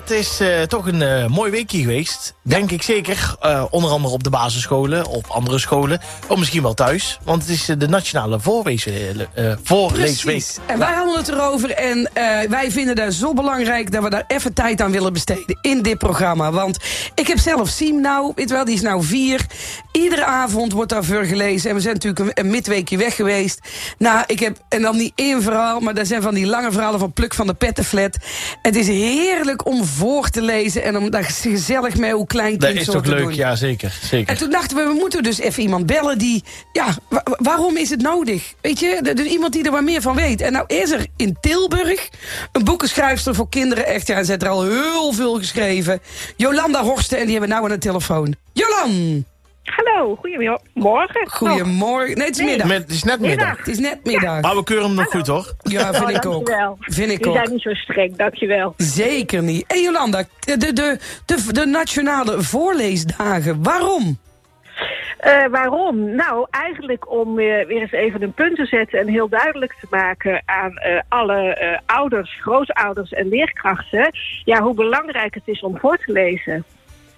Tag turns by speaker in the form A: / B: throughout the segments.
A: Het is eh, toch een eh, mooi weekje geweest. Denk ik zeker. Eh, onder andere op de basisscholen, op andere scholen. Of misschien wel thuis. Want het is eh, de nationale voorwezen, eh, eh, voorleesweek.
B: Precies. En wij hadden het erover en eh, wij vinden dat zo belangrijk dat we daar even tijd aan willen besteden in dit programma. Want ik heb zelf Siem nou, weet wel, die is nou vier. Iedere avond wordt daar voor gelezen en we zijn natuurlijk een, een midweekje weg geweest. Nou, ik heb, en dan niet één verhaal, maar daar zijn van die lange verhalen van Pluk van de Pettenflat. Het is heerlijk om voor te lezen en om daar gezellig mee hoe klein
A: Dat
B: kind
A: is
B: zo
A: toch
B: te
A: leuk?
B: doen.
A: Ja, zeker.
B: En
A: zeker.
B: toen dachten we, we moeten dus even iemand bellen die... Ja, wa- wa- waarom is het nodig? Weet je, de- dus iemand die er wat meer van weet. En nou is er in Tilburg een boekenschrijfster voor kinderen. Echt, ja, en ze heeft er al heel veel geschreven. Jolanda Horsten, en die hebben we nou aan de telefoon. Jolan,
C: Hallo, goedemorgen.
B: goedemorgen. Nee, het is middag.
A: Met, het is net middag.
B: Het is net middag.
A: Maar we keuren hem nog goed, hoor.
B: Ja, vind
C: Oh,
B: ik ook.
C: dankjewel.
B: Vind ik
C: Je bent
B: ook.
C: niet zo streng, dankjewel.
B: Zeker niet. En Jolanda, de, de, de, de, de nationale voorleesdagen, waarom?
C: Eh, waarom? Nou, eigenlijk om eh, weer eens even een punt te zetten en heel duidelijk te maken aan eh, alle eh, ouders, grootouders en leerkrachten, ja, hoe belangrijk het is om voor te lezen.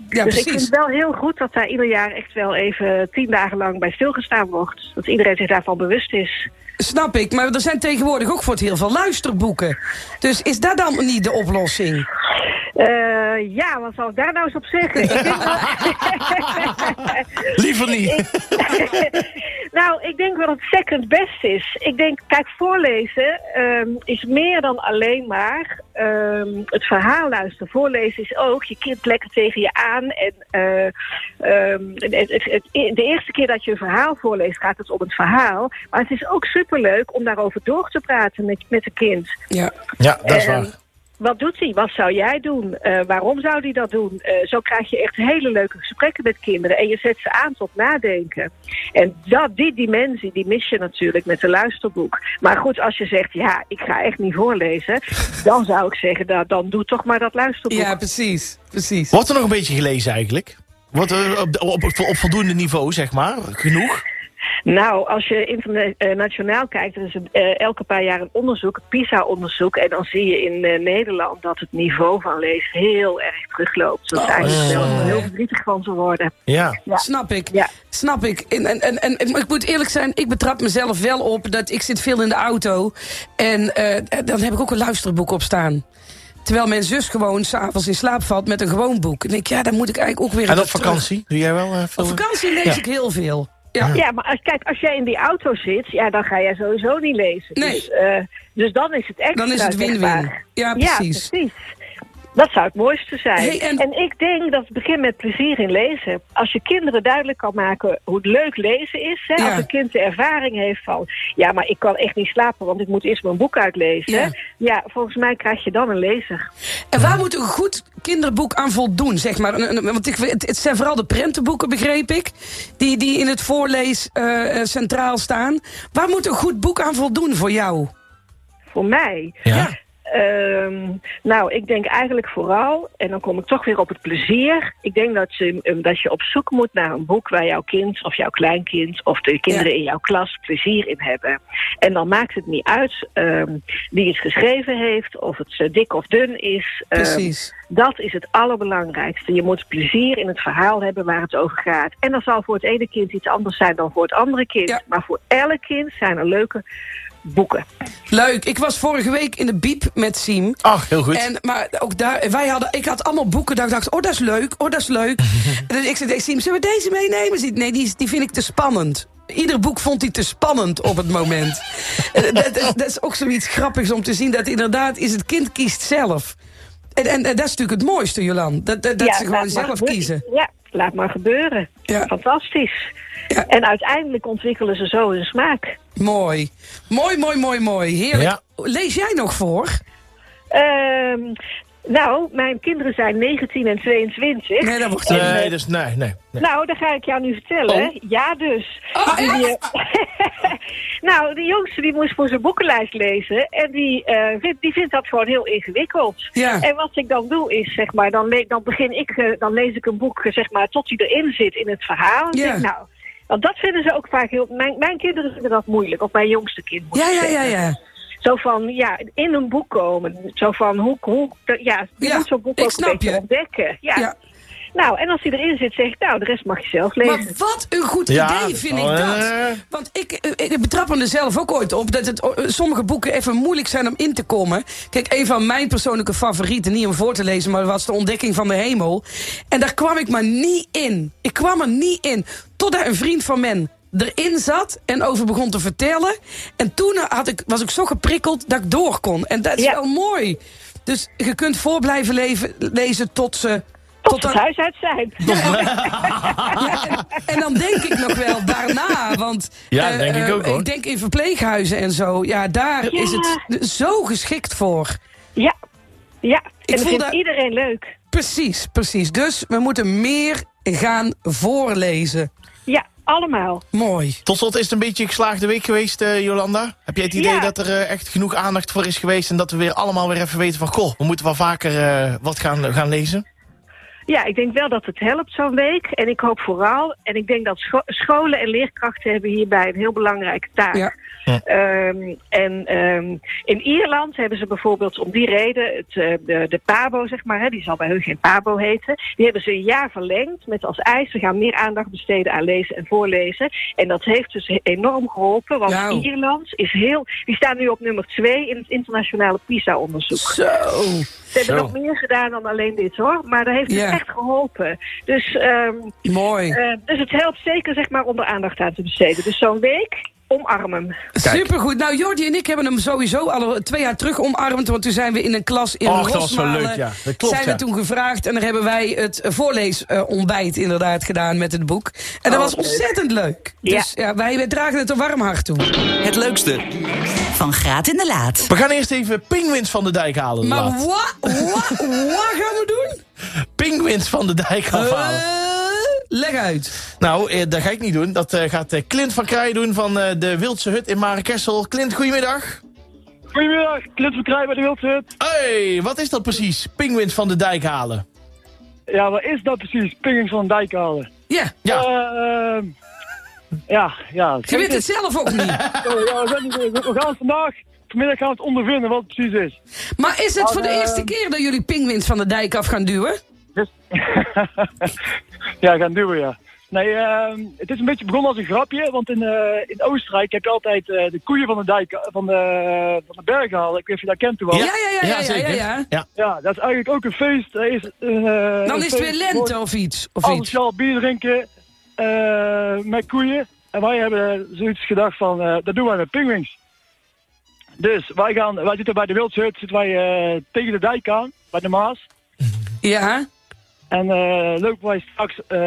B: Ja,
C: dus ik vind
B: precies.
C: het wel heel goed dat daar ieder jaar echt wel even tien dagen lang bij stilgestaan wordt. Dat iedereen zich daarvan bewust is.
B: Snap ik, maar er zijn tegenwoordig ook voor het heel veel luisterboeken. Dus is dat dan niet de oplossing?
C: Eh, ja, wat zal ik daar nou eens op zeggen? Ik vind wel-
A: Liever niet.
C: nou, ik denk wel dat het second best is. Ik denk, kijk, voorlezen ehm, is meer dan alleen maar ehm, het verhaal luisteren. Voorlezen is ook, je kind lekker tegen je aan. En eh, ehm, het, het- het- de eerste keer dat je een verhaal voorleest, gaat het om het verhaal. Maar het is ook superleuk om daarover door te praten met, met een kind.
B: Ja,
A: Ja, dat is
B: Ehm.
C: En
A: waar.
C: Wat doet hij? Wat zou jij doen? Eh, waarom zou hij dat doen? Eh, zo krijg je echt hele leuke gesprekken met kinderen. En je zet ze aan tot nadenken. En dat, die dimensie, die mis je natuurlijk met een luisterboek. Maar goed, als je zegt, ja, ik ga echt niet voorlezen. dan zou ik zeggen, nou, dan doe toch maar dat luisterboek.
B: ja precies. precies.
A: Wordt er nog een beetje gelezen, eigenlijk? Wordt er op, op, op, op voldoende niveau, zeg maar? Genoeg?
C: Nou, als je internationaal kijkt, er is een, eh, elke paar jaar een onderzoek, een PISA-onderzoek. En dan zie je in eh, Nederland dat het niveau van lezen heel erg terugloopt. Dat is eigenlijk wel
B: zonde.
C: heel verdrietig van te worden.
A: Ja.
C: Ja.
B: Snap ik.
C: Ja.
B: Snap ik. En, en, en, en ik moet eerlijk zijn, ik betrap mezelf wel op dat ik zit veel in de auto. En eh, dan heb ik ook een luisterboek op staan. Terwijl mijn zus gewoon s'avonds in slaap valt met een gewoon boek. En ik, ja, dan moet ik eigenlijk ook weer.
A: En
B: een
A: op
B: terug.
A: vakantie? Doe jij wel eh, veel?
B: Op vakantie lees
A: Ja.
B: ik heel veel. Ja.
C: Ja, maar als, kijk, als jij in die auto zit, ja, dan ga jij sowieso niet lezen.
B: Nee.
C: Dus, eh, dus dan is het extra.
B: Dan is het
C: zeg
B: win-win.
C: maar.
B: Ja,
C: Ja,
B: precies.
C: precies. Dat zou het mooiste zijn.
B: Hey, en-
C: en... ik denk dat het begint met plezier in lezen. Als je kinderen duidelijk kan maken hoe leuk lezen is. Hè,
B: Ja.
C: Als een kind de ervaring heeft van... ja, maar ik kan echt niet slapen, want ik moet eerst mijn boek uitlezen.
B: Ja.
C: Ja, volgens mij krijg je dan een lezer.
B: En waar moet een goed kinderboek aan voldoen, zeg maar? Een- een- Want ik, weet- het, het zijn vooral de prentenboeken, begreep ik, die, die in het voorlees eh, eh, centraal staan. Waar moet een goed boek aan voldoen voor jou?
C: Voor mij.
A: Ja.
C: Ehm, nou, ik denk eigenlijk vooral, en dan kom ik toch weer op het plezier. Ik denk dat, ze, ehm, dat je op zoek moet naar een boek waar jouw kind of jouw kleinkind of de kinderen in jouw klas plezier in hebben. En dan maakt het niet uit ehm, wie het geschreven heeft, of het eh, dik of dun is. Ehm,
B: Precies.
C: dat is het allerbelangrijkste. Je moet plezier in het verhaal hebben waar het over gaat. En dat zal voor het ene kind iets anders zijn dan voor het andere kind.
B: Ja.
C: Maar voor elk kind zijn er leuke boeken.
B: Leuk. Ik was vorige week in de Biep met Siem.
A: Ach, heel goed.
B: En, maar ook daar, wij hadden, ik had allemaal boeken dat ik dacht, oh dat is leuk, oh dat is leuk. en dus ik zei tegen Siem, zullen we deze meenemen? Ze zei, Nee, die, is- die vind ik te spannend. Ieder boek vond hij te spannend op het moment. En dat, dat- dat is ook zoiets grappigs om te zien, dat inderdaad is het kind kiest zelf. En, en, en dat is natuurlijk het mooiste, Jolan. Dat, dat, dat ze
C: laat
B: gewoon
C: maar
B: zelf
C: gebeuren.
B: kiezen.
C: Ja, laat maar gebeuren.
B: Ja.
C: Fantastisch.
B: Ja.
C: En uiteindelijk ontwikkelen ze zo hun smaak.
B: Mooi. Mooi, mooi, mooi, mooi. Heerlijk.
A: Ja.
B: Lees jij nog voor?
C: Ehm, nou, mijn kinderen zijn 19 en 22.
B: Nee, dat wordt
A: Nee, dus nee, nee. nee.
C: Nou, dan ga ik jou nu
B: Oh.
C: vertellen. Ja, dus. Die, eh, nou, de jongste die moest voor zijn boekenlijst lezen. En die, eh, vindt, die vindt dat gewoon heel ingewikkeld.
B: Ja.
C: En wat ik dan doe is, zeg maar, dan, le- dan begin ik, eh, dan lees ik een boek, eh, zeg maar, tot hij erin zit in het verhaal.
B: Ja.
C: Ik denk, nou, Want dat vinden ze ook vaak heel... Mijn, mijn kinderen vinden dat moeilijk, of mijn jongste kind. moet
B: Ja,
C: ik
B: ja, ja,
C: zeggen.
B: ja.
C: Zo van, ja, in een boek komen. Zo van, hoe... hoe ja, je
B: Ja,
C: moet zo'n boek
B: ik
C: ook
B: snap
C: een beetje
B: je.
C: ontdekken. Ja.
B: ja.
C: Nou, en als hij erin zit, zeg ik, nou, de rest mag je zelf lezen.
B: Maar wat een goed
A: Ja,
B: idee vind ik
A: nou,
B: dat.
A: eh.
B: Want ik, eh, ik betrap me er zelf ook ooit op dat het, eh, sommige boeken even moeilijk zijn om in te komen. Kijk, een van mijn persoonlijke favorieten, niet om voor te lezen, maar was De Ontdekking van de Hemel. En daar kwam ik maar niet in. Ik kwam er niet in. Totdat een vriend van men erin zat en over begon te vertellen. En toen had ik, was ik zo geprikkeld dat ik door kon. En dat is
C: Ja.
B: wel mooi. Dus je kunt voor blijven leven, lezen tot ze...
C: Tot
B: aan-
C: het huis uit zijn.
B: ja, en, en dan denk ik nog wel daarna, want
A: Ja,
B: eh,
A: denk ik
B: eh,
A: ook, hoor.
B: ik denk in verpleeghuizen en zo, ja, daar
C: Ja.
B: is het dus zo geschikt voor.
C: Ja, ja.
B: Ik
C: en dat
B: voel
C: vindt
B: dat-
C: iedereen leuk.
B: Precies, precies. Dus we moeten meer gaan voorlezen.
C: Ja, allemaal.
B: Mooi.
A: Tot slot is het een beetje een geslaagde week geweest, eh, Jolanda. Heb jij het idee
C: Ja.
A: dat er eh, echt genoeg aandacht voor is geweest... en dat we weer allemaal weer even weten van... goh, we moeten wel vaker eh, wat gaan, gaan lezen?
C: Ja, ik denk wel dat het helpt zo'n week. En ik hoop vooral, en ik denk dat scho- scholen en leerkrachten hebben hierbij een heel belangrijke taak.
B: Ja.
A: Ja.
C: Ehm, en ehm, in Ierland hebben ze bijvoorbeeld om die reden het, eh, de, de PABO, zeg maar, hè, die zal bij hun geen PABO heten. Die hebben ze een jaar verlengd met als eis, we gaan meer aandacht besteden aan lezen en voorlezen. En dat heeft dus enorm geholpen, want
B: Nou.
C: Ierland is heel, die staan nu op nummer twee in het internationale PISA-onderzoek.
B: Zo.
C: Ze hebben
A: Zo.
C: nog meer gedaan dan alleen dit hoor. Maar dat heeft
B: Ja.
C: het echt geholpen. Dus, ehm,
B: Mooi.
C: eh, dus het helpt zeker zeg maar, om er aandacht aan te besteden. Dus zo'n week, omarm hem.
B: Supergoed. Nou, Jordi en ik hebben hem sowieso al twee jaar terug omarmd. Want toen zijn we in een klas in
A: Och, dat was
B: Rosmalen.
A: wel leuk, ja. Dat klopt,
B: zijn we
A: ja.
B: toen gevraagd. En daar hebben wij het voorleesontbijt inderdaad gedaan met het boek. En dat
C: Oh,
B: was
C: leuk.
B: ontzettend leuk. Dus ja, wij dragen het een warm hart toe.
D: Het leukste,
E: Van Graat in de Laat.
A: We gaan eerst even pinguïns van de dijk halen.
B: Maar
A: Laat.
B: wat, wat, wat gaan we doen?
A: Pinguïns van de dijk afhalen.
B: Eh, leg uit.
A: Nou, eh, dat ga ik niet doen. Dat eh, gaat eh, Clint van Kraaij doen van eh, de Wildse Hut in Marekessel. Clint, goedemiddag.
F: Goedemiddag, Clint van Krij bij de Wildshut.
A: Hey, wat is dat precies? Pinguïns van de dijk halen.
F: Ja, wat is dat precies? Pingings van Dijk halen.
B: Ja,
A: Ja.
F: Eh, ehm, ja, ja.
B: je weet het zelf ook niet.
F: Oh, ja, we, zijn niet- we- we gaan vandaag, vanmiddag gaan we het ondervinden wat het precies is.
B: Maar is
A: Oh,
B: het voor de
F: eh,
B: eerste keer dat jullie pinguïns van de dijk af gaan duwen?
F: Dus... ja, gaan duwen, ja. Nee, ehm, het is een beetje begonnen als een grapje, want in, eh, in Oostenrijk heb je altijd eh, de koeien van de, dijk, van, de, van de bergen halen. Ik weet of je dat kent toen wel.
B: Ja, ja, ja, ja, ja,
A: zeker.
B: ja, ja.
F: Ja, dat is eigenlijk ook een feest. Er Is, eh,
B: Dan
F: een
B: is het weer
F: feest.
B: lente of iets.
A: Oh,
B: Of
F: Alles
B: iets.
F: zal bier drinken eh, met koeien. En wij hebben zoiets gedacht van, eh, dat doen wij met pinguïns. Dus wij, gaan, wij zitten bij de Wildshut, zitten wij eh, tegen de dijk aan, bij de Maas.
B: Ja,
F: En eh, lopen wij straks eh,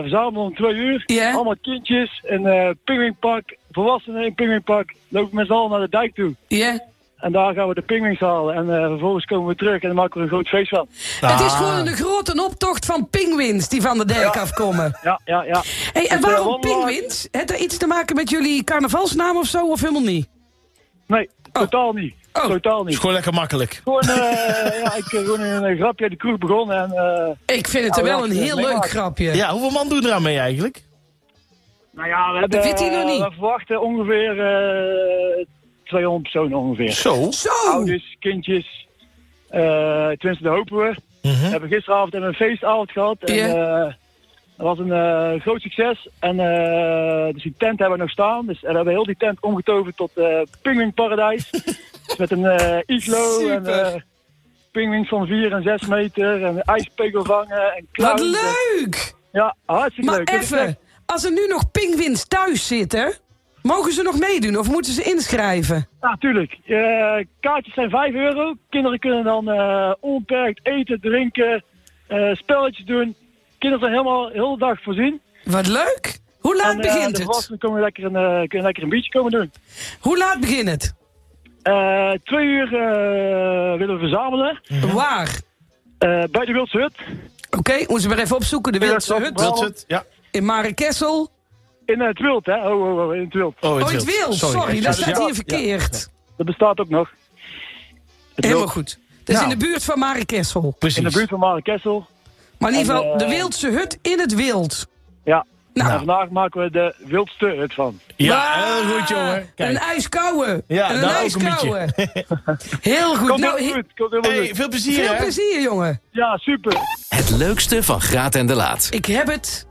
F: verzamelen om twee uur.
B: Ja.
F: Allemaal kindjes in eh pinguïnpak, volwassenen in pinguïnpak. Lopen we met z'n allen naar de dijk toe.
B: ja.
F: En daar gaan we de pinguïns halen. En eh, vervolgens komen we terug en dan maken we een groot feest van.
B: Het
A: Ah.
B: is gewoon een grote optocht van pinguïns die van de dijk afkomen.
F: Ja, ja, ja.
B: Hey, en
F: Het, eh,
B: waarom
F: wandelaar-
B: pinguïns? Heeft dat iets te maken met jullie carnavalsnaam of zo? Of helemaal niet?
F: Nee, totaal niet.
B: Oh.
F: Totaal
A: Is
F: niet.
A: gewoon lekker makkelijk.
F: Gewoon, eh, ja, ik eh, gewoon een, een grapje uit de kroeg begonnen. En, eh,
B: Ik vind het
F: Nou,
B: wel
F: ja,
B: een heel
F: nee,
B: leuk
F: maar-
B: grapje.
A: Ja, hoeveel man doen er aan mee eigenlijk?
F: nou
B: Ah,
F: ja, we hebben,
B: weet hij nog
F: eh,
B: niet.
F: We verwachten ongeveer eh 200 personen ongeveer.
A: Zo.
B: Zo!
F: Ouders, kindjes. eh tenminste, dat hopen we. We hebben gisteravond hebben we een feestavond gehad. En,
B: Mhm. Ja.
F: eh, dat was een eh, groot succes. En eh, dus die tent hebben we nog staan. Dus, en we hebben heel die tent omgetoverd tot eh pinguïnparadijs. dus met een eh iglo en
B: Super.
F: eh pinguïns van 4 en 6 meter. En ijspegel vangen en
B: Wat
F: clowns. en-
B: leuk!
F: Ja, hartstikke
B: Maar
F: leuk. Dit is echt-
B: even, als er nu nog pinguïns thuis zitten, mogen ze nog meedoen of moeten ze inschrijven?
F: Ja, tuurlijk. Eh, kaartjes zijn 5 euro. Kinderen kunnen dan eh, onbeperkt eten, drinken, eh, spelletjes doen. Kinderen zijn helemaal heel de dag voorzien.
B: Wat leuk! Hoe laat
F: eh,
B: begint
F: de
B: het?
F: volwassenen komen lekker een, eh, kunnen lekker een biertje komen doen.
B: Hoe laat begint het?
F: Eh, twee uur eh, willen we verzamelen
B: Waar?
F: eh, bij de Wildse Hut
B: Oké, moeten we maar even opzoeken. De Wildse
F: Wildse
B: Hut
A: Dat is het. Ja.
B: in Marekessel.
F: in het wild, hè? Oh, oh, oh, in het wild.
A: Oh,
B: Ooit Wild, sorry, dat staat hier verkeerd.
F: Dat bestaat ook nog. Het
B: Helemaal
F: wild.
B: goed. Dat is
A: Nou.
B: in de buurt van Marekessel.
A: Precies.
F: In de buurt van Marenkessel.
B: Maar in ieder
F: En,
B: geval,
F: eh,
B: de Wildse Hut in het wild.
F: Ja,
B: Nou.
F: En vandaag maken we de wildste hut van.
A: Ja, heel goed, jongen.
B: Een
A: Kijk.
B: ijskouwe.
A: Ja,
B: en een
A: nou ook een
B: ijskouwe. Heel goed.
F: Komt
B: Nou,
F: heel
B: he-
F: goed, komt helemaal
A: Hey,
F: goed.
A: veel plezier,
B: veel
A: hè?
B: plezier, jongen.
F: Ja, super.
D: Het leukste van Graat en de Laat.
B: Ik heb het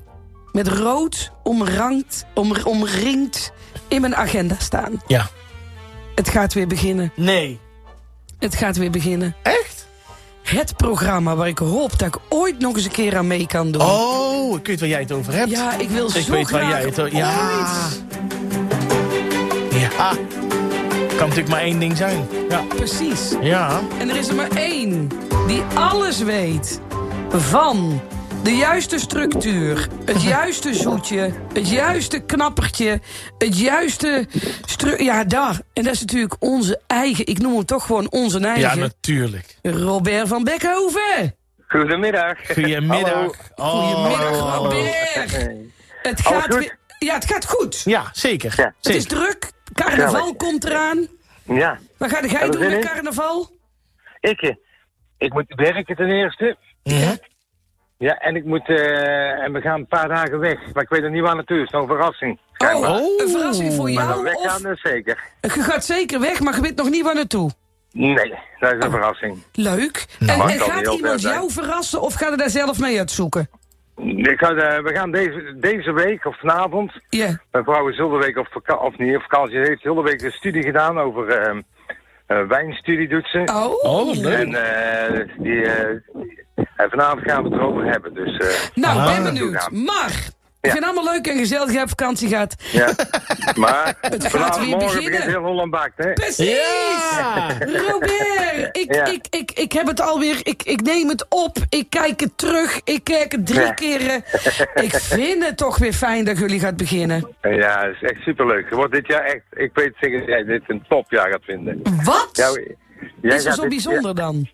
B: met rood omrankt, om, omringd in mijn agenda staan.
A: Ja.
B: Het gaat weer beginnen.
A: Nee.
B: Het gaat weer beginnen.
A: Echt?
B: Het programma waar ik hoop dat ik ooit nog eens een keer aan mee kan doen.
A: Oh, ik weet waar jij het over hebt.
B: Ja, ik wil zo
A: ik weet
B: graag
A: waar jij het over Ja.
B: ooit.
A: Ja. Ah. Kan natuurlijk maar één ding zijn. Ja.
B: Precies.
A: Ja.
B: En er is er maar één die alles weet van de juiste structuur, het juiste zoetje, het juiste knappertje, het juiste stru ja daar. En dat is natuurlijk onze eigen, ik noem hem toch gewoon onze
A: Ja,
B: eigen
A: natuurlijk.
B: Robert van Beckhoven.
G: Goedemiddag. Hallo.
A: Goedemiddag.
B: Goedemiddag
A: Oh.
B: Robert.
G: Hey.
B: Het
G: Alles
B: gaat
G: goed?
B: weer- ja, het gaat goed.
A: Ja, zeker.
G: Ja.
B: Het is
A: zeker.
B: druk. Carnaval
G: Gezellig.
B: komt eraan.
G: Ja,
B: Wat ga jij
G: Hebben we
B: doen
G: zin
B: met
G: in?
B: carnaval? ik,
G: ik, eh, ik moet werken ten eerste.
A: Ja.
G: Ja, en ik moet, eh, en we gaan een paar dagen weg. Maar ik weet nog niet waar naartoe, zo'n verrassing. schijnbaar.
B: Oh, een verrassing voor
G: maar dan
B: jou.
G: weg
B: Of
G: gaan, dus zeker.
B: je gaat zeker weg, maar je weet nog niet waar naartoe.
G: Nee, dat
B: Oh.
G: is een verrassing.
B: Leuk. en
G: dat
B: en
G: Nou, kan
B: gaat
G: heel
B: iemand
G: ver zijn.
B: jou verrassen of gaat er daar zelf mee uitzoeken?
G: Ik ga, eh, we gaan deze, deze week of vanavond.
B: Ja.
G: Mijn vrouw is hele week op vakantie, of niet op vakantie, ze heeft hele week een studie gedaan over ehm, eh, wijnstudie doet ze.
B: Oh.
A: Oh, leuk.
G: En eh, die, eh, en vanavond gaan we het erover hebben. Dus eh,
B: Nou,
A: Ah.
B: ben benieuwd. Maar, ik
G: Ja.
B: vind het allemaal leuk en gezellig dat je op vakantie gaat.
G: ja. Maar
B: gaat
G: vanavond
B: weer
G: morgen
B: beginnen.
G: begint heel Holland Bakt, hè?
B: Precies!
A: Ja.
B: Robert, ik,
G: Ja.
B: ik, ik, ik heb het alweer, ik, ik neem het op, ik kijk het terug, ik kijk het drie
G: Ja.
B: keren. Ik vind het toch weer fijn dat jullie gaat beginnen.
G: Ja, het is echt superleuk. Het wordt dit jaar echt, ik weet zeker dat jij dit een topjaar gaat vinden.
B: Wat
G: Jou- jij
B: is er
G: gaat
B: zo
G: dit-
B: bijzonder dan?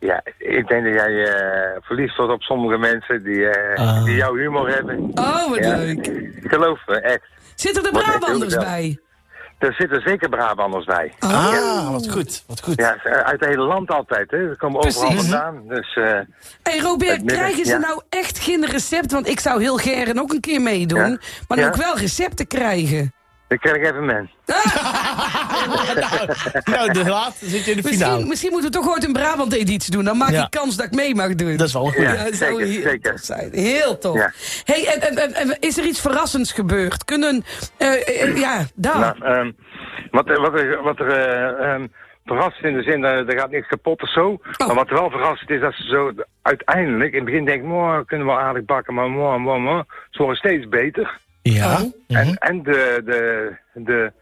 G: Ja, ja, ik denk dat jij eh, verliefd wordt op sommige mensen die, eh,
A: Ah.
G: die jouw humor hebben.
B: Oh, wat
G: Ja,
B: leuk.
G: Geloof me, echt.
B: Zitten er
G: Wat echt heel
B: Brabanders
G: gezellig.
B: bij?
G: Er zitten zeker Brabanders bij.
A: Ah, wat goed. Wat goed.
G: Ja, uit het hele land altijd, hè. Ze komen overal
B: Precies.
G: vandaan. Dus eh,
B: Hey
G: Het
B: Robert,
G: midden-
B: krijgen ze
G: ja.
B: nou echt geen recept? Want ik zou heel gern ook een keer meedoen.
G: Ja.
B: Maar dan
G: Ja.
B: ook wel recepten krijgen.
G: dan krijg ik even men.
A: Nou, de laat zit je in de
B: Misschien,
A: finale.
B: misschien moeten we toch ooit een Brabant-editie doen. Dan maak
A: Ja.
B: ik kans dat ik mee mag doen.
A: Dat is wel een goede.
G: Ja. zeker,
B: heel
G: zeker.
B: tof zijn. Heel tof.
G: Ja.
B: Hey, en, en- en- en is er iets verrassends gebeurd? Kunnen, eh, eh, ja, daar.
G: Nou, ehm, wat, er- wat er, wat er eh, ehm, verrast in de zin, dat er gaat niks kapot of zo.
B: Oh.
G: Maar wat wel verrast is, dat ze zo uiteindelijk in het begin denken, mooi, kunnen we wel aardig bakken, maar mooi, mooi, mooi. Ze worden steeds beter.
A: Ja.
B: Mhm.
G: En, en de, de, de,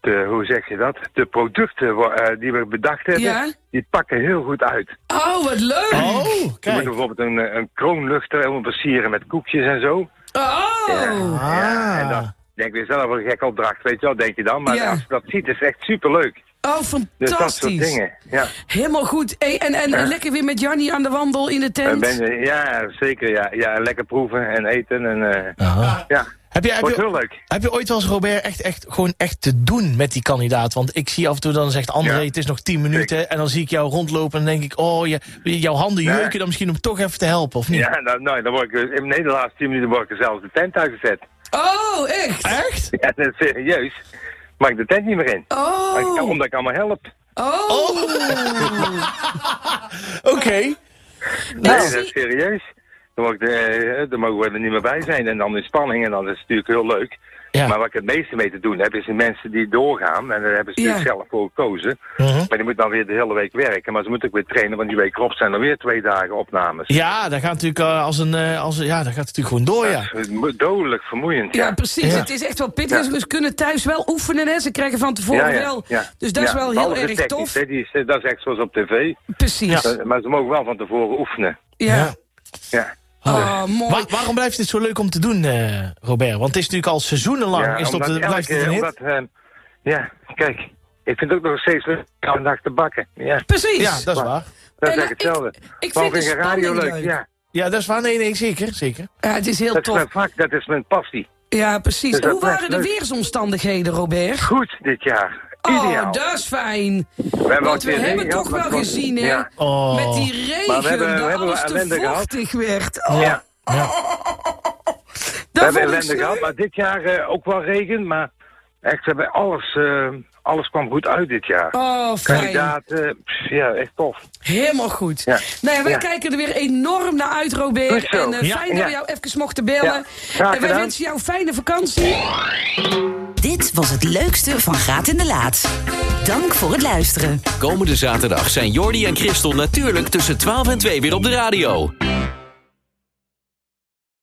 G: de, hoe zeg je dat? De producten wa- eh, die we bedacht hebben,
B: Ja.
G: die pakken heel goed uit.
B: Oh, wat leuk. Oh.
A: Oh,
G: Je moet
A: kijk.
G: bijvoorbeeld een, eh, een kroonluchter helemaal versieren met koekjes en zo.
B: Oh. Ah.
G: Ja, en dan denk je zelf wel een gekke opdracht, weet je wel, denk je dan. Maar
B: Ja.
G: als je dat ziet, is het echt superleuk.
B: Oh,
G: Dus dat soort
B: fantastisch.
G: dingen. Ja.
B: Helemaal goed. Hey, en, en, en lekker weer met Jannie aan de wandel in de
G: En
B: tent.
G: ben je- ja, zeker. Ja. ja, lekker proeven en eten. En, eh,
A: Aha.
G: ja,
A: Heb je, heb,
G: wordt heel
A: je,
G: leuk.
A: heb je ooit wel eens, Robert, echt, echt, gewoon echt te doen met die kandidaat? Want ik zie af en toe, dan zegt André,
G: Ja.
A: het is nog 10 minuten. En dan zie ik jou rondlopen en dan denk ik, oh, je, jouw handen
G: Nee.
A: jeuken dan misschien om toch even te helpen, of niet?
G: Ja, nou, nou, dan word ik, eh, in nee, de laatste tien minuten word ik er zelfs de tent uitgezet.
B: Oh, echt?
A: Echt?
G: Ja, dat is serieus. Mag ik de tent niet meer in?
B: Oh.
G: Maar ik- Omdat ik allemaal help.
B: Oh,
A: Oké.
G: Nee, dat
B: zie-
G: is serieus. Dan, word ik de, eh, dan mogen we er niet meer bij zijn. En dan is spanning en dan is het natuurlijk heel leuk.
A: Ja.
G: Maar wat ik het meeste mee te doen heb, is de mensen die doorgaan. En daar hebben ze
B: Ja. Mhm.
G: natuurlijk zelf voor gekozen. Maar die moeten dan weer de hele week werken. Maar ze moeten ook weer trainen, want die week erop zijn er weer twee dagen opnames.
A: Ja, dat gaat natuurlijk eh, als een, eh, als een- ja, dat gaat natuurlijk gewoon door, ja.
G: Het is eh, mo- Dodelijk vermoeiend.
B: oh ja,
G: Ja,
B: precies.
A: Ja.
B: Het is echt wel pittig.
G: Ja.
B: Ze kunnen thuis wel oefenen, hè. Ze krijgen van tevoren
G: Ja, ja,
B: wel.
G: ja.
B: Dus dat is
G: Ja,
B: wel heel
G: behalve
B: erg
G: technisch,
B: tof.
G: hè, die is, eh, dat is echt zoals op tv.
B: Precies. Ja.
G: Eh, Maar ze mogen wel van tevoren oefenen.
A: Ja.
G: Ja.
B: Oh, mooi.
A: Wa- waarom blijft dit zo leuk om te doen, eh, Robert? Want het is natuurlijk al seizoenenlang.
G: ja,
A: is het op
G: omdat
A: de, blijft
G: elke-
A: het een hit?
G: omdat, eh, ja, kijk. Ik vind het ook nog steeds leuk om een dag te bakken. Ja.
B: Precies.
A: Ja, dat is
G: Maar-
A: waar.
G: Dat is
B: En,
G: echt
B: eh,
G: hetzelfde.
B: ik- ik
G: Waarom
B: vind de
G: je radio
B: spanning
G: leuk.
B: leuk.
G: Ja,
A: Ja, dat is waar. Nee, nee, zeker. zeker.
B: Ja, het is heel
G: dat is
B: tof.
G: mijn vak, dat is mijn passie.
B: Ja, precies.
G: Dus dat
B: Hoe
G: blijft
B: waren de
G: leuk.
B: weersomstandigheden, Robert?
G: Goed dit jaar.
B: Oh,
G: Ideaal.
B: dat is fijn.
G: hebben
B: Want
G: ook
B: we
G: weer
B: hebben
G: regen
B: toch
G: gehad,
B: wel
G: maar-
B: gezien, hè?
G: Ja.
A: Oh.
B: Met die regen,
G: Maar we hebben- we
B: dat
G: hebben
B: alles te
G: ellende gehad.
B: vochtig werd. Oh,
G: Ja.
A: Ja.
B: dat
G: hebben
B: Oh. vond ik
G: ellende
B: sneu.
G: gehad, maar dit jaar eh, ook wel regen. Maar echt, we hebben alles, eh, alles kwam goed uit dit jaar.
B: Oh, fijn.
G: Kandidaat, eh, pff, ja, echt tof.
B: Helemaal goed.
G: Ja.
B: Nou ja, wij
G: Ja.
B: kijken er weer enorm naar uit, Robert.
G: Goed zo.
B: En eh,
A: Ja.
B: fijn dat we
G: Ja.
B: jou even mochten bellen.
G: Graag
B: En wij
G: gedaan.
B: wensen jou fijne vakantie.
E: Dit was het leukste van Graat in de Laat. Dank voor het luisteren.
D: Komende zaterdag zijn Jordi en Christel natuurlijk tussen 12 en 2 weer op de radio.